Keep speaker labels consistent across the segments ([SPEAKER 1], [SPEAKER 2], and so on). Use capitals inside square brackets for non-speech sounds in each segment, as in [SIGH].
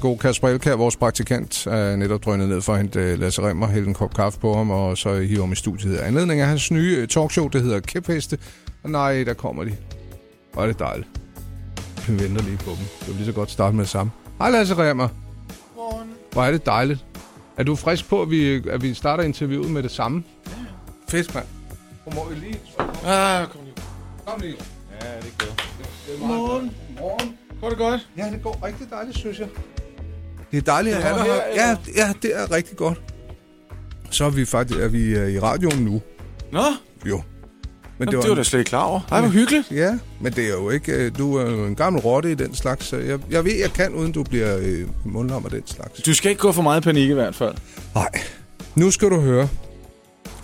[SPEAKER 1] god. Kasper Elkær, vores praktikant, er netop drønet ned for at hente øh, Lasse Remmer, hælde en kop kaffe på ham, og så hive ham i studiet. Anledningen er hans nye øh, talkshow, det hedder Kæpheste. Og nej, der kommer de. Og det er dejligt. Vi venter lige på dem. Det vil lige så godt starte med det samme. Hej Lasse Remmer.
[SPEAKER 2] Godmorgen.
[SPEAKER 1] Hvor er det dejligt. Er du frisk på, at vi, øh, at vi starter interviewet med det samme? Fedt, mand. Kom over lige.
[SPEAKER 2] Ah, kom lige.
[SPEAKER 1] Kom lige.
[SPEAKER 2] Ja, det går.
[SPEAKER 1] Godmorgen. Godmorgen.
[SPEAKER 2] Går det godt?
[SPEAKER 1] Ja, det går rigtig dejligt, synes jeg. Det er dejligt at have dig
[SPEAKER 2] her,
[SPEAKER 1] her. Ja, ja, det er rigtig godt. Så er vi faktisk er vi øh, i radioen nu.
[SPEAKER 2] Nå,
[SPEAKER 1] Jo. Men
[SPEAKER 2] det var, det var da slet ikke klar over. Ej, hvor hyggeligt.
[SPEAKER 1] Ja, men det er jo ikke... øh, Du er jo en gammel rotte i den slags. Så jeg, jeg ved, jeg kan, uden du bliver øh, mundlam af den slags.
[SPEAKER 2] Du skal ikke gå for meget i panik i hvert fald.
[SPEAKER 1] Nej. Nu skal du høre.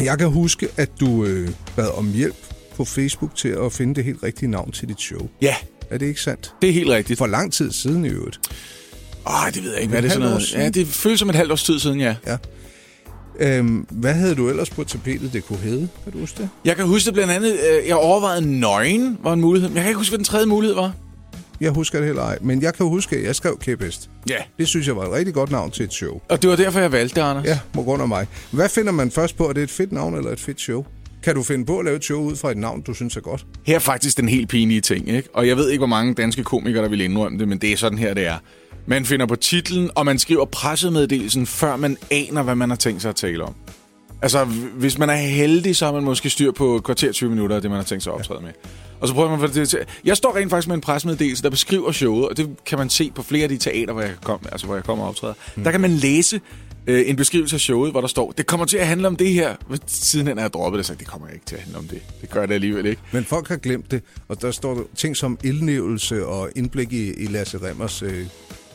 [SPEAKER 1] Jeg kan huske, at du øh, bad om hjælp på Facebook til at finde det helt rigtige navn til dit show.
[SPEAKER 2] Ja,
[SPEAKER 1] Er det ikke sandt?
[SPEAKER 2] det er helt rigtigt.
[SPEAKER 1] For lang tid siden i øvrigt.
[SPEAKER 2] Åh, det ved jeg ikke, hvad
[SPEAKER 1] Et
[SPEAKER 2] det er sådan
[SPEAKER 1] halvt
[SPEAKER 2] noget.
[SPEAKER 1] år siden.
[SPEAKER 2] Ja, det føles som et halvt års tid siden, ja.
[SPEAKER 1] Øhm, hvad havde du ellers på tapetet, det kunne hedde? Kan du huske det?
[SPEAKER 2] Jeg kan huske det blandt andet, øh, jeg overvejede nøgen var en mulighed. Men jeg kan ikke huske, hvad den tredje mulighed var.
[SPEAKER 1] Jeg husker det heller ej, men jeg kan huske, at jeg skrev Kæphest.
[SPEAKER 2] Ja.
[SPEAKER 1] Det synes jeg var et rigtig godt navn til et show.
[SPEAKER 2] Og det var derfor, jeg valgte det, Anders.
[SPEAKER 1] Ja, på grund af mig. Hvad finder man først på? Er det et fedt navn eller et fedt show? Kan du finde på at lave et show ud fra et navn, du synes er godt?
[SPEAKER 2] Her er faktisk den helt pinlige ting, ikke? Og jeg ved ikke, hvor mange danske komikere, der vil indrømme det, men det er sådan her, det er. Man finder på titlen, og man skriver pressemeddelelsen, før man aner, hvad man har tænkt sig at tale om. Altså, hv- hvis man er heldig, så har man måske styr på et kvarter 20 minutter af det, man har tænkt sig at optræde med. Og så prøver man at få det til. Jeg står rent faktisk med en pressemeddelelse, der beskriver showet, og det kan man se på flere af de teater, hvor jeg, kom, altså, hvor jeg kommer og optræder. Mm. Der kan man læse øh, en beskrivelse af showet, hvor der står, det kommer til at handle om det her. Sidenhen har jeg droppet det, og sagt, det kommer ikke til at handle om det. Det gør det alligevel ikke.
[SPEAKER 1] Men folk har glemt det, og der står der ting som ildnævelse og indblik i, i Lasse Remmers... Øh,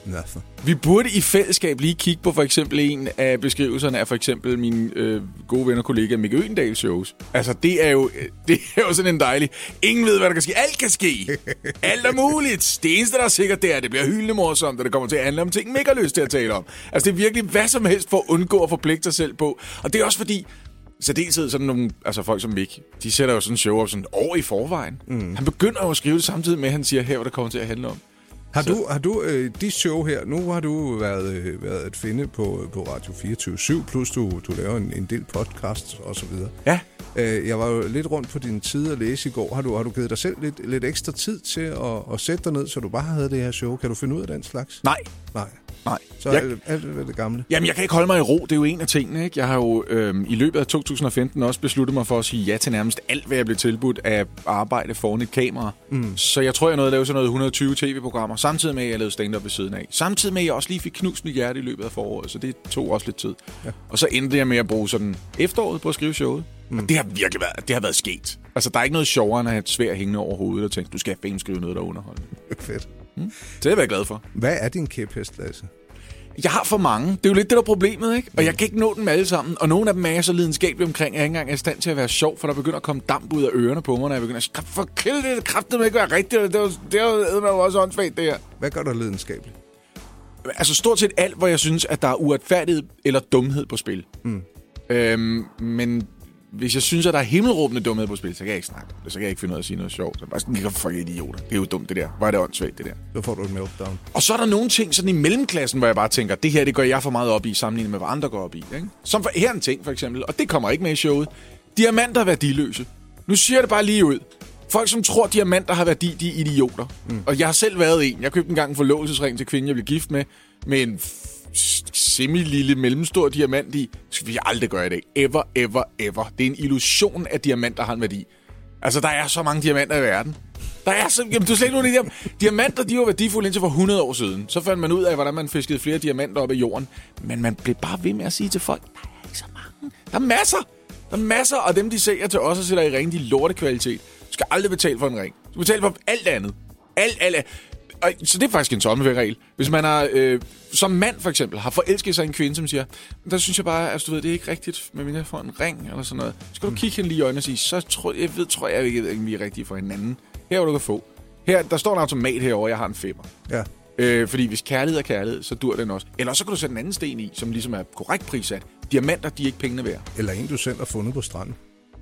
[SPEAKER 1] nothing.
[SPEAKER 2] Vi burde i fællesskab lige kigge på for eksempel en af beskrivelserne af for eksempel min øh, gode ven og kollega Mikke Øendals shows. Altså, det er, jo, øh, det er jo sådan en dejlig... Ingen ved, hvad der kan ske. Alt kan ske. Alt er muligt. Det eneste, der er sikkert, det er, at det bliver hyldende morsomt, og det kommer til at handle om ting, man ikke har lyst til at tale om. Altså, det er virkelig hvad som helst for at undgå at forpligte sig selv på. Og det er også fordi, så dels sådan nogle, altså folk som Mick, de sætter jo sådan en show op sådan et år i forvejen. Mm. Han begynder jo at skrive det samtidig med, at han siger, her hvad det kommer til at handle om.
[SPEAKER 1] Har du, har du øh, de show her, nu har du været, øh, været at finde på, på Radio 24 plus du, du laver en, en del podcasts og så videre.
[SPEAKER 2] Ja.
[SPEAKER 1] Øh, jeg var jo lidt rundt på din tid at læse i går. Har du, har du givet dig selv lidt, lidt ekstra tid til at, at sætte dig ned, så du bare havde det her show? Kan du finde ud af den slags?
[SPEAKER 2] Nej.
[SPEAKER 1] Nej.
[SPEAKER 2] Nej.
[SPEAKER 1] Så
[SPEAKER 2] Jeg-
[SPEAKER 1] jeg... alt, alt ved det gamle. [LAUGHS]
[SPEAKER 2] Jamen, jeg kan ikke holde mig i ro. Det er jo en af tingene, ikke? Jeg har jo øhm, i løbet af 2015 også besluttet mig for at sige ja til nærmest alt, hvad jeg blev tilbudt af arbejde foran et kamera. Mm. Så jeg tror, jeg nåede at lave sådan noget 120 tv-programmer, samtidig med, at jeg lavede stand-up ved siden af. Samtidig med, at jeg også lige fik knust mit hjerte i løbet af foråret, så det tog også lidt tid. Ja. Og så endte jeg med at bruge sådan efteråret på at skrive showet. Mm. Og det har virkelig været, det har været sket. Altså, der er ikke noget sjovere, end at have et svær hængende over hovedet og tænke, du skal fanden skrive noget, der underholder.
[SPEAKER 1] Fedt.
[SPEAKER 2] Det er jeg været glad for.
[SPEAKER 1] Hvad er din kæphest, Lasse?
[SPEAKER 2] Jeg har for mange. Det er jo lidt det, der er problemet, ikke? Og jeg kan ikke nå dem alle sammen. Og nogle af dem er jeg så lidenskabelig omkring, at jeg ikke engang er i stand til at være sjov, for der begynder at komme damp ud af ørerne på mig, når jeg begynder at sige, for kæld, det kraftedeme ikke være rigtigt, og det er jo- det er jo eddermame også åndssvagt, det her.
[SPEAKER 1] Hvad gør dig lidenskabeligt?
[SPEAKER 2] Altså stort set alt, hvor jeg synes, at der er uretfærdighed eller dumhed på spil. Mm. Øhm, men hvis jeg synes, at der er himmelråbende dumhed på spil, så kan jeg ikke snakke om det. Så kan jeg ikke finde ud af at sige noget sjovt. Så er jeg bare sådan, "Nå, fuck idioter. Det er jo dumt, det der. Hvor er det åndssvagt, det der.
[SPEAKER 1] Så får du et meltdown.
[SPEAKER 2] Og så er der nogle ting sådan i mellemklassen, hvor jeg bare tænker, det her det går jeg for meget op i, sammenlignet med, hvad andre går op i. Ikke? Som for, her er en ting, for eksempel, og det kommer ikke med i showet. Diamanter er værdiløse. Nu siger jeg det bare lige ud. Folk, som tror, diamanter har værdi, de er idioter. Mm. Og jeg har selv været en. Jeg købte engang en forlovelsesring til kvinden, jeg blev gift med, med en f- s- semi-lille, mellemstor diamant i. Det skal vi aldrig gøre i dag. Ever, ever, ever. Det er en illusion, at diamanter har en værdi. Altså, der er så mange diamanter i verden. Der er så... Jamen, du er slet ikke nogen idé om... Diamanter, de var værdifulde indtil for 100 år siden. Så fandt man ud af, hvordan man fiskede flere diamanter op af jorden. Men man blev bare ved med at sige til folk, der er ikke så mange. Der er masser. Der er masser, og dem, de sælger til os og sætter i ringe, de er lortekvalitet. Du skal aldrig betale for en ring. Du skal betale for alt andet. Alt, alt, alt. Og, så det er faktisk en tommelfingerregel. Hvis man har, øh, som mand for eksempel har forelsket sig i en kvinde, som siger, der synes jeg bare, altså du ved, det er ikke rigtigt, men jeg får en ring eller sådan noget. Så skal du kigge hende lige i øjnene og sige, så tror jeg, ved, tror jeg ikke, at vi er rigtige for hinanden. Her hvor du kan få. Her, der står en automat herovre, jeg har en femmer.
[SPEAKER 1] Ja.
[SPEAKER 2] Øh, fordi hvis kærlighed er kærlighed, så dur den også. Eller så kan du sætte en anden sten i, som ligesom er korrekt prissat. Diamanter, de er ikke pengene værd.
[SPEAKER 1] Eller en, du selv har fundet på stranden.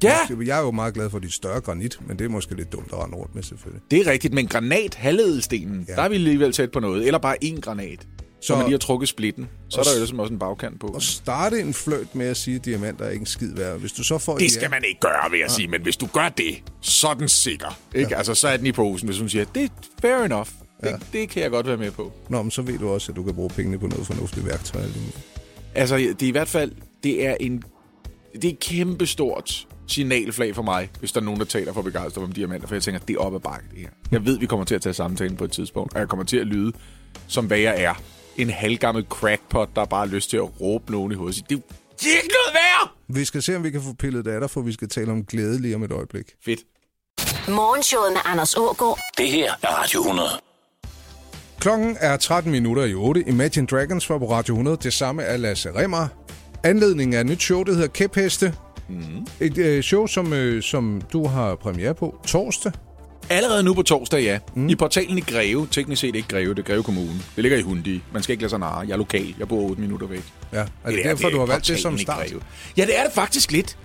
[SPEAKER 2] Ja!
[SPEAKER 1] Jeg er jo meget glad for dit større granit, men det er måske lidt dumt at rende rundt med, selvfølgelig.
[SPEAKER 2] Det er rigtigt, men granat, halvedelstenen, ja.
[SPEAKER 1] Ja.
[SPEAKER 2] der er vi alligevel tæt på noget. Eller bare én granat. Så man lige har trukket splitten. Så er der jo ligesom også en bagkant på.
[SPEAKER 1] at starte en fløjt med at sige, at diamanter er ikke en skid værd. Hvis du så får et
[SPEAKER 2] Det
[SPEAKER 1] ja,
[SPEAKER 2] skal man ikke gøre, vil jeg sige. Men hvis du gør det, så er den sikker. Ikke? Altså, så er den i posen, hvis hun siger, det er fair enough. Det, det kan jeg godt være med på.
[SPEAKER 1] Nå, men så ved du også, at du kan bruge pengene på noget fornuftigt værktøj.
[SPEAKER 2] Altså, det er i hvert fald, det er en, det er et kæmpestort signalflag for mig, hvis der er nogen, der taler for begejstret om diamanter, for jeg tænker, det er op ad bakke, det her. Jeg ved, vi kommer til at tage samtalen på et tidspunkt, og jeg kommer til at lyde, som hvad jeg er. En halvgammel crackpot, der bare har lyst til at råbe nogen i hovedet. og sige, Det er det er ikke noget værd!
[SPEAKER 1] Vi skal se, om vi kan få pillet det af dig, for vi skal tale om glæde lige om et øjeblik.
[SPEAKER 2] Fedt.
[SPEAKER 3] Morgenshowet med Anders Ågaard.
[SPEAKER 4] Det her er Radio 100.
[SPEAKER 1] Klokken er 13 minutter i 8. Imagine Dragons var på Radio 100. Det samme er Lasse Remmer. Anledningen er et nyt show, der hedder Kæpheste. Mm. Et øh, show, som, øh, som du har premiere på torsdag.
[SPEAKER 2] Allerede nu på torsdag, ja. Mm. I portalen i Greve, teknisk set ikke Greve, det er Greve Kommune. Det ligger i Hundi. Man skal ikke lade sig narre. Jeg er lokal. Jeg bor 8 minutter væk.
[SPEAKER 1] Ja, er det, det derfor, du har valgt det som start?
[SPEAKER 2] Greve. Ja, det er det faktisk lidt.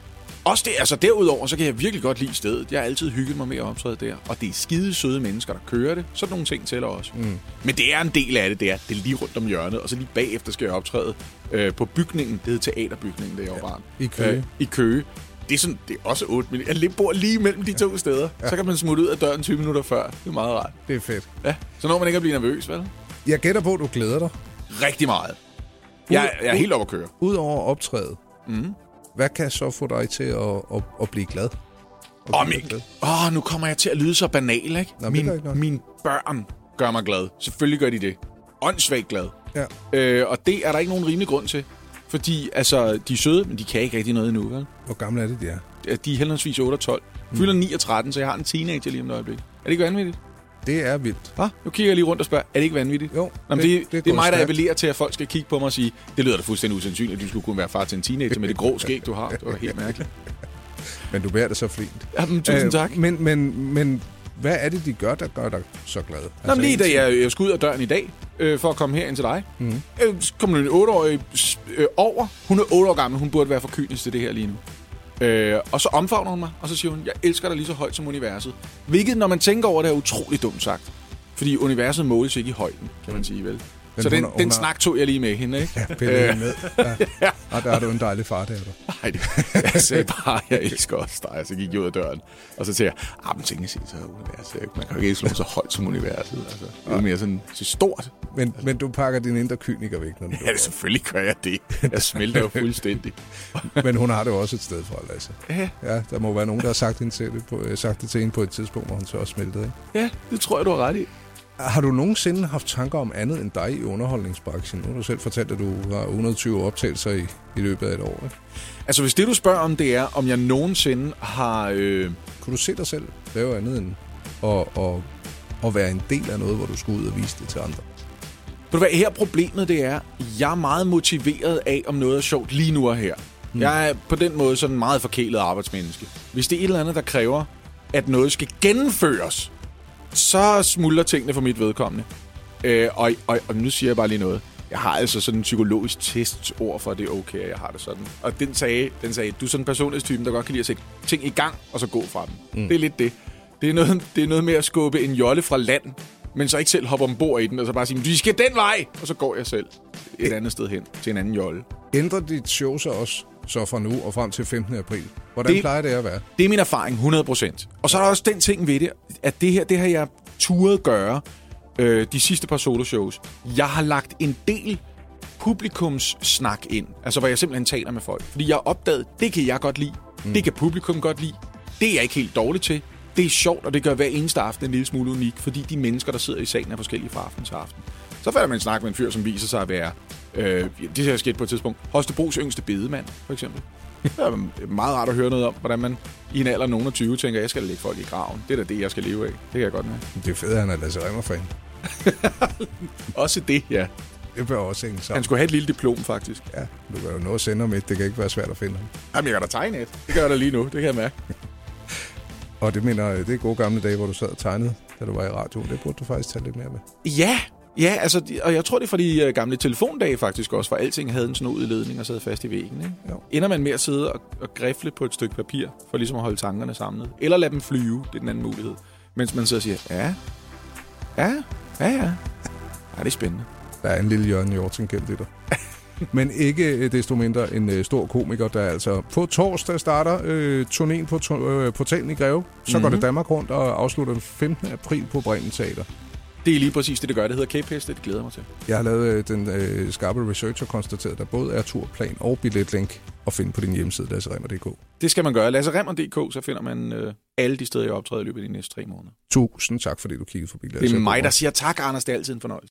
[SPEAKER 2] Også det, altså derudover, så kan jeg virkelig godt lide stedet. Jeg har altid hygget mig med at optræde der. Og det er skide søde mennesker, der kører det. Sådan nogle ting tæller også. Mm. Men det er en del af det, det er. Det er lige rundt om hjørnet. Og så lige bagefter skal jeg optræde øh, på bygningen. Det hed teaterbygningen, der jeg var barn.
[SPEAKER 1] i Køge.
[SPEAKER 2] I Køge. Det er, sådan, det er også 8 minutter. Jeg lige bor lige mellem de to steder. Så kan man smutte ud af døren 20 minutter før. Det er meget rart.
[SPEAKER 1] Det er fedt.
[SPEAKER 2] Ja, så når man ikke at blive nervøs, vel?
[SPEAKER 1] Jeg gætter på, at du glæder dig.
[SPEAKER 2] Rigtig meget. Jeg, jeg er helt oppe at køre.
[SPEAKER 1] Udover at optræde, mm. hvad kan så få dig til at, at, at blive glad? At
[SPEAKER 2] Åh,
[SPEAKER 1] blive
[SPEAKER 2] Mikkel.
[SPEAKER 1] glad?
[SPEAKER 2] Åh, nu kommer jeg til at lyde så banal, ikke?
[SPEAKER 1] Nå, men det
[SPEAKER 2] min,
[SPEAKER 1] gør ikke noget.
[SPEAKER 2] mine børn gør mig glad. Selvfølgelig gør de det. Åndssvagt glad.
[SPEAKER 1] Ja.
[SPEAKER 2] Øh, og det er der ikke nogen rimelig grund til. Fordi, altså, de er søde, men de kan ikke rigtig noget endnu, vel?
[SPEAKER 1] Hvor gamle er det, de er?
[SPEAKER 2] De er henholdsvis 8 og 12.
[SPEAKER 1] Mm.
[SPEAKER 2] Fylder 9 og 13, så jeg har en teenager lige om et øjeblik. Er det ikke vanvittigt?
[SPEAKER 1] Det er vildt.
[SPEAKER 2] Hva? Nu kigger jeg lige rundt og spørger, er det ikke vanvittigt?
[SPEAKER 1] Jo,
[SPEAKER 2] Nå, men
[SPEAKER 1] det-
[SPEAKER 2] det, det,
[SPEAKER 1] det
[SPEAKER 2] det, det er
[SPEAKER 1] går
[SPEAKER 2] mig, der
[SPEAKER 1] stærkt.
[SPEAKER 2] appellerer til, at folk skal kigge på mig og sige, det lyder da fuldstændig usandsynligt, at du skulle kunne være far til en teenager med det grå skæg, du har. Det var da helt mærkeligt. Øhm.
[SPEAKER 1] Men du bærer det så flint.
[SPEAKER 2] Jamen, tusind tak.
[SPEAKER 1] Men, men, men hvad er det, de gør, der gør dig så glad? Altså,
[SPEAKER 2] Nå, men lige
[SPEAKER 1] en Mhm. ting-
[SPEAKER 2] da jeg, jeg skulle ud af døren i dag, øh, for at komme herind til dig, mm. øh, så kom der en 8-årig s- øh, over. Hun er 8 år gammel, hun burde være forkynet til det her lige nu. Øh, og så omfavner hun mig, og så siger hun, jeg elsker dig lige så højt som universet. Hvilket, når man tænker over det, er utroligt dumt sagt. Fordi universet måles ikke i højden, kan man sige, vel?
[SPEAKER 1] Mm. Men
[SPEAKER 2] så den,
[SPEAKER 1] hun er- hun
[SPEAKER 2] den
[SPEAKER 1] er-
[SPEAKER 2] snak tog jeg lige med hende, ikke?
[SPEAKER 1] Ja,
[SPEAKER 2] [LAUGHS]
[SPEAKER 1] pille øh. med. Ja. Og der er du en dejlig far, der er du.
[SPEAKER 2] Nej, det, jeg sagde bare, jeg elsker også dig. Og så gik jeg ud af døren, og så tænkte jeg, ah, men tænk sig, så er universet. ikke? Man kan jo ikke slå så højt som universet. Altså, det er jo mere sådan, så stort.
[SPEAKER 1] Men, men du pakker din indre kyniker væk, når du
[SPEAKER 2] Ja, det selvfølgelig gør jeg det. [LAUGHS] Jeg smelter jo fuldstændig.
[SPEAKER 1] Men hun har det jo også et sted fra, Lasse.
[SPEAKER 2] Ja.
[SPEAKER 1] Ja, der må være nogen, der har sagt, hende til det på, øh, sagt det til hende på et tidspunkt, hvor hun så også smeltede. Ikke?
[SPEAKER 2] [LAUGHS] Ja, det tror jeg, du har ret i.
[SPEAKER 1] Har du nogensinde haft tanker om andet end dig i underholdningsbranchen? Nu har du selv fortalt, at du har 120 optagelser i, i løbet af et år. Ikke?
[SPEAKER 2] Altså, hvis det, du spørger om, det er, om jeg nogensinde har... Øh...
[SPEAKER 1] Kunne du se dig selv lave andet end at, at, at være en del af noget, hvor du skulle ud og vise det til andre?
[SPEAKER 2] Ved du hvad, her problemet det er, jeg er meget motiveret af, om noget er sjovt lige nu og her. Mm. Jeg er på den måde sådan en meget forkælet arbejdsmenneske. Hvis det er et eller andet, der kræver, at noget skal gennemføres, så smuldrer tingene for mit vedkommende. Øh, og, og, og nu siger jeg bare lige noget. Jeg har altså sådan en psykologisk testord for, at det er okay, at jeg har det sådan. Og den sagde, den sagde du er sådan en personlighedstype, der godt kan lide at sætte ting i gang, og så gå fra dem. Mm. Det er lidt det. Det er, noget, det er noget med at skubbe en jolle fra land, men så ikke selv hoppe ombord i den, og så bare sige, "Men de skal den vej, og så går jeg selv et andet sted hen til en anden jolle.
[SPEAKER 1] Ændrer dit show sig også så fra nu og frem til 15. april? Hvordan
[SPEAKER 2] Det-
[SPEAKER 1] det... plejer det at være?
[SPEAKER 2] Det er min erfaring, 100%. Og så er der også den ting ved det, at det her, det har jeg turet gøre øh, de sidste par soloshows. Jeg har lagt en del publikumssnak ind, altså hvor jeg simpelthen taler med folk. Fordi jeg har opdaget, det kan jeg godt lide, mm. det kan publikum godt lide, det er jeg ikke helt dårlig til, det er sjovt, og det gør hver eneste aften en lille smule unik, fordi de mennesker, der sidder i salen, er forskellige fra aften til aften. Så falder man en snak med en fyr, som viser sig at være, øh, det her sket på et tidspunkt, Holstebros yngste bedemand, for eksempel. Det er meget rart at høre noget om, hvordan man i en alder af nogen af 20 tænker, jeg skal da lægge folk i graven. Det er da det, jeg skal leve af. Det kan jeg godt mærke.
[SPEAKER 1] Det er fedt, at han er Lasse Remmer-fan.
[SPEAKER 2] Også det, ja.
[SPEAKER 1] Det bør også hænge sammen.
[SPEAKER 2] Han skulle have et lille diplom, faktisk.
[SPEAKER 1] Ja, du kan jo nå at sende ham et. Det kan ikke være svært at finde ham.
[SPEAKER 2] Jamen, jeg kan da tegne et. Det gør jeg da lige nu. Det kan jeg mærke.
[SPEAKER 1] Og det mener jeg, det er gode gamle dage, hvor du sad og tegnede, da du var i radioen. Det burde du faktisk tage lidt mere med.
[SPEAKER 2] Ja, ja altså, de- og jeg tror, det er fra de øh, gamle telefondage faktisk også, hvor alting havde en snodig ledning og sad fast i væggen. Ikke?
[SPEAKER 1] Jo.
[SPEAKER 2] Ender man med at sidde og, og grifle på et stykke papir, for ligesom at holde tankerne samlet. Eller lade dem flyve, det er den anden mulighed. Mens man sidder og siger, ja, ja, ja, ja. Ej, det er spændende.
[SPEAKER 1] Der er en lille Jørgen Jorting gemt i dig. Men ikke øh, desto mindre en øh, stor komiker, der altså på torsdag starter øh, turnéen på to- øh, portalen i Greve. Så mm-hmm. går det Danmark rundt og afslutter den 15. april på Bremen Teater.
[SPEAKER 2] Det er lige præcis det, det gør. Det hedder Kæpheste, det glæder jeg mig til.
[SPEAKER 1] Jeg har lavet øh, den øh, skarpe research og konstateret, at der både er turplan og billetlink at finde på din hjemmeside, lasseremmer.dk.
[SPEAKER 2] Det skal man gøre. Lasseremmer.dk, så finder man øh, alle de steder, jeg optræder i løbet af de næste tre måneder.
[SPEAKER 1] Tusind tak, fordi du kiggede forbi.
[SPEAKER 2] Det er mig, der siger tak, Anders. Det er altid en fornøjelse.